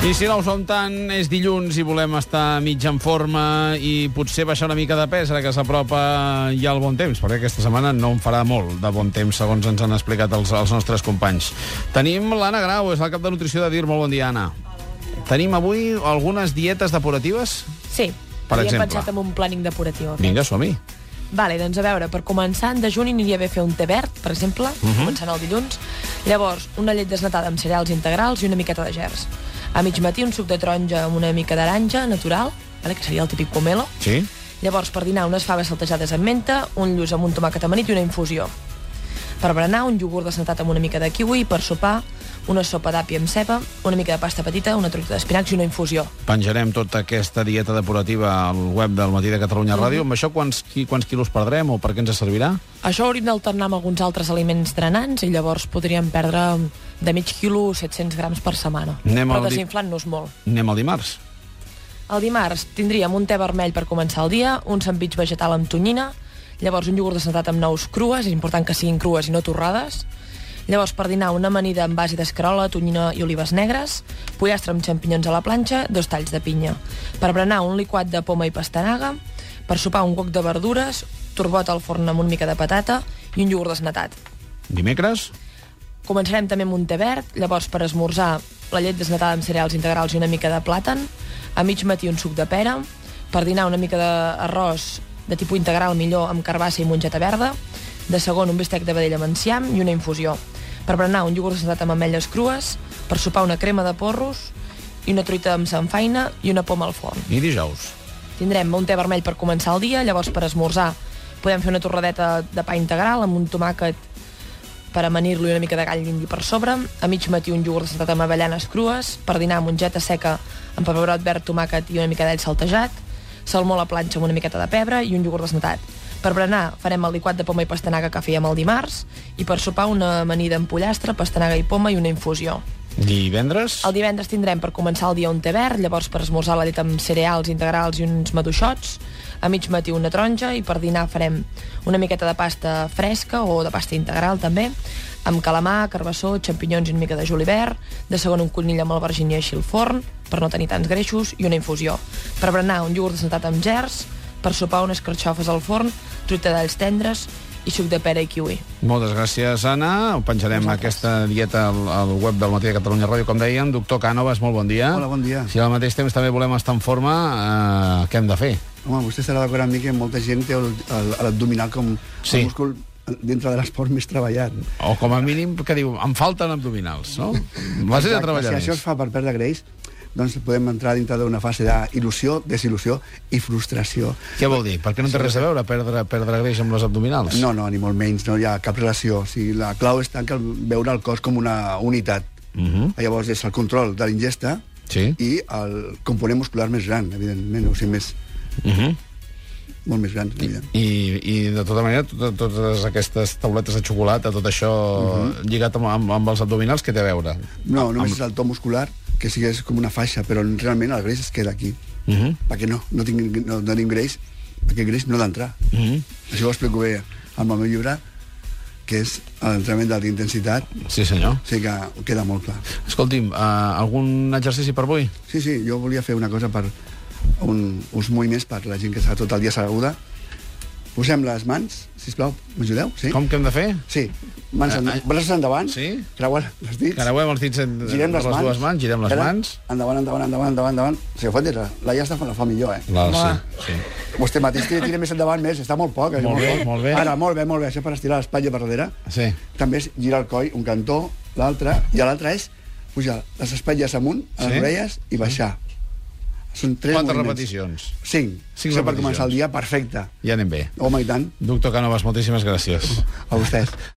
I si no ho som tant, és dilluns i volem estar mig en forma i potser baixar una mica de pes ara que s'apropa ja el bon temps, perquè aquesta setmana no en farà molt de bon temps, segons ens han explicat els, els nostres companys. Tenim l'Anna Grau, és la cap de nutrició de DIR. Molt bon dia, Anna. Tenim avui algunes dietes depuratives? Sí. Per havia exemple. pensat en un plàning depuratiu. Vinga, som-hi. Vale, doncs a veure, per començar, en dejuni aniria bé fer un te verd, per exemple, uh Mhm. -huh. començant el dilluns. Llavors, una llet desnatada amb cereals integrals i una miqueta de gerds. A mig matí, un suc de taronja amb una mica d'aranja natural, vale, que seria el típic pomelo. Sí? Llavors, per dinar, unes faves saltejades amb menta, un lluç amb un tomàquet amanit i una infusió. Per berenar, un iogurt desnatat amb una mica de kiwi, per sopar, una sopa d'àpia amb ceba, una mica de pasta petita, una truita d'espinacs i una infusió. Penjarem tota aquesta dieta depurativa al web del Matí de Catalunya Ràdio. Amb això quants, qui- quants quilos perdrem o per què ens servirà? Això hauríem d'alternar amb alguns altres aliments drenants i llavors podríem perdre de mig quilo 700 grams per setmana. Anem però al di- desinflant-nos molt. Anem al dimarts. El dimarts tindríem un te vermell per començar el dia, un sandvitx vegetal amb tonyina, llavors un iogurt desnatat amb nous crues, és important que siguin crues i no torrades, llavors per dinar una amanida amb base d'escarola, tonyina i olives negres, pollastre amb xampinyons a la planxa, dos talls de pinya. Per berenar un liquat de poma i pastanaga, per sopar un coc de verdures, turbot al forn amb una mica de patata i un iogurt desnatat. Dimecres? Començarem també amb un te verd, llavors per esmorzar la llet desnatada amb cereals integrals i una mica de plàtan, a mig matí un suc de pera, per dinar una mica d'arròs de tipus integral millor amb carbassa i mongeta verda, de segon un bistec de vedella amb enciam i una infusió. Per berenar un iogurt desnatat amb ametlles crues, per sopar una crema de porros i una truita amb sanfaina i una poma al forn. I dijous? Tindrem un te vermell per començar el dia, llavors per esmorzar podem fer una torradeta de pa integral amb un tomàquet per amanir-lo i una mica de gall d'indi per sobre, a mig matí un iogurt saltat amb avellanes crues, per dinar mongeta seca amb pebrot verd, tomàquet i una mica d'all saltejat, salmó a la planxa amb una miqueta de pebre i un iogurt desnatat. Per berenar farem el liquat de poma i pastanaga que fèiem el dimarts i per sopar una amanida amb pollastre, pastanaga i poma i una infusió. Divendres? El divendres tindrem per començar el dia un te verd, llavors per esmorzar la llet amb cereals integrals i uns maduixots, a mig matí una taronja i per dinar farem una miqueta de pasta fresca o de pasta integral també, amb calamar, carbassó, xampinyons i una mica de julivert, de segon un conill amb albergínia així al forn, per no tenir tants greixos, i una infusió. Per berenar un iogurt desnatat amb gerds, per sopar unes carxofes al forn, truita d'alls tendres i suc de pera i kiwi. Moltes gràcies, Anna. Ho penjarem aquesta dieta al, al web del Matí de Catalunya Ràdio, com dèiem. Doctor Cànovas, molt bon dia. Hola, bon dia. Si al mateix temps també volem estar en forma, eh, què hem de fer? Home, vostè estarà d'acord amb mi que molta gent té el- el- l'abdominal com Sí. el múscul dintre de l'esport més treballat. O com a mínim, que diu, em falten abdominals, no? Vas a Exacte, treballar Si això es més. fa per perdre greix, doncs podem entrar dintre d'una fase d'il·lusió, desil·lusió i frustració. Què vol dir? Per què no té res a veure perdre, perdre greix amb les abdominals? No, no, ni molt menys, no hi ha cap relació. O sigui, la clau està en que el- veure el cos com una unitat. Mhm. Llavors és el control de l'ingesta Sí. i el component muscular més gran, evidentment, o sigui, més, Uh -huh. molt més gran. evident. I, I, de tota manera, tot, totes aquestes tauletes de xocolata, tot això uh Mhm. -huh. lligat amb, amb, amb els abdominals, què té a veure? Ah, No, només és el to muscular, que sí que és com una faixa, però realment el greix es queda aquí. Uh -huh. perquè no, no, tinc, no tenim greix, perquè greix no ha d'entrar. Uh -huh. Això ho explico bé amb el meu llibre, que és l'entrenament d'alta intensitat, Sí, senyor. o sigui que ho queda molt clar. Escolti'm, uh, algun exercici per avui? Sí, sí, jo volia fer una cosa per un, uns moviments per la gent que està tot el dia asseguda. Posem les mans, si plau, m'ajudeu? Sí? Com que hem de fer? Sí, mans en, Eh, eh, braços endavant, sí? creuant els dits, Carauem els dits en, girem les, mans, dues mans, girem les Ara, mans. Endavant, endavant, endavant, endavant, endavant. O sigui, fotis, la, la ja està, la fa millor, eh? Clar, Home. sí, sí. Vostè mateix tira, tira més endavant, més, està molt poc. eh? Molt bé, poc. molt bé. Ara, molt bé, molt bé, això per estirar l'espatlla per darrere. Sí. També és girar el coll, un cantó, l'altre, i l'altre és pujar les espatlles amunt, a les Sí. Mm. sí? orelles, i baixar. Són tres Quantes moviments. repeticions? Cinc. Cinc Això repeticions. per començar el dia, perfecte. Ja anem bé. Home, i tant, Doctor Canovas, moltíssimes gràcies. a vostès.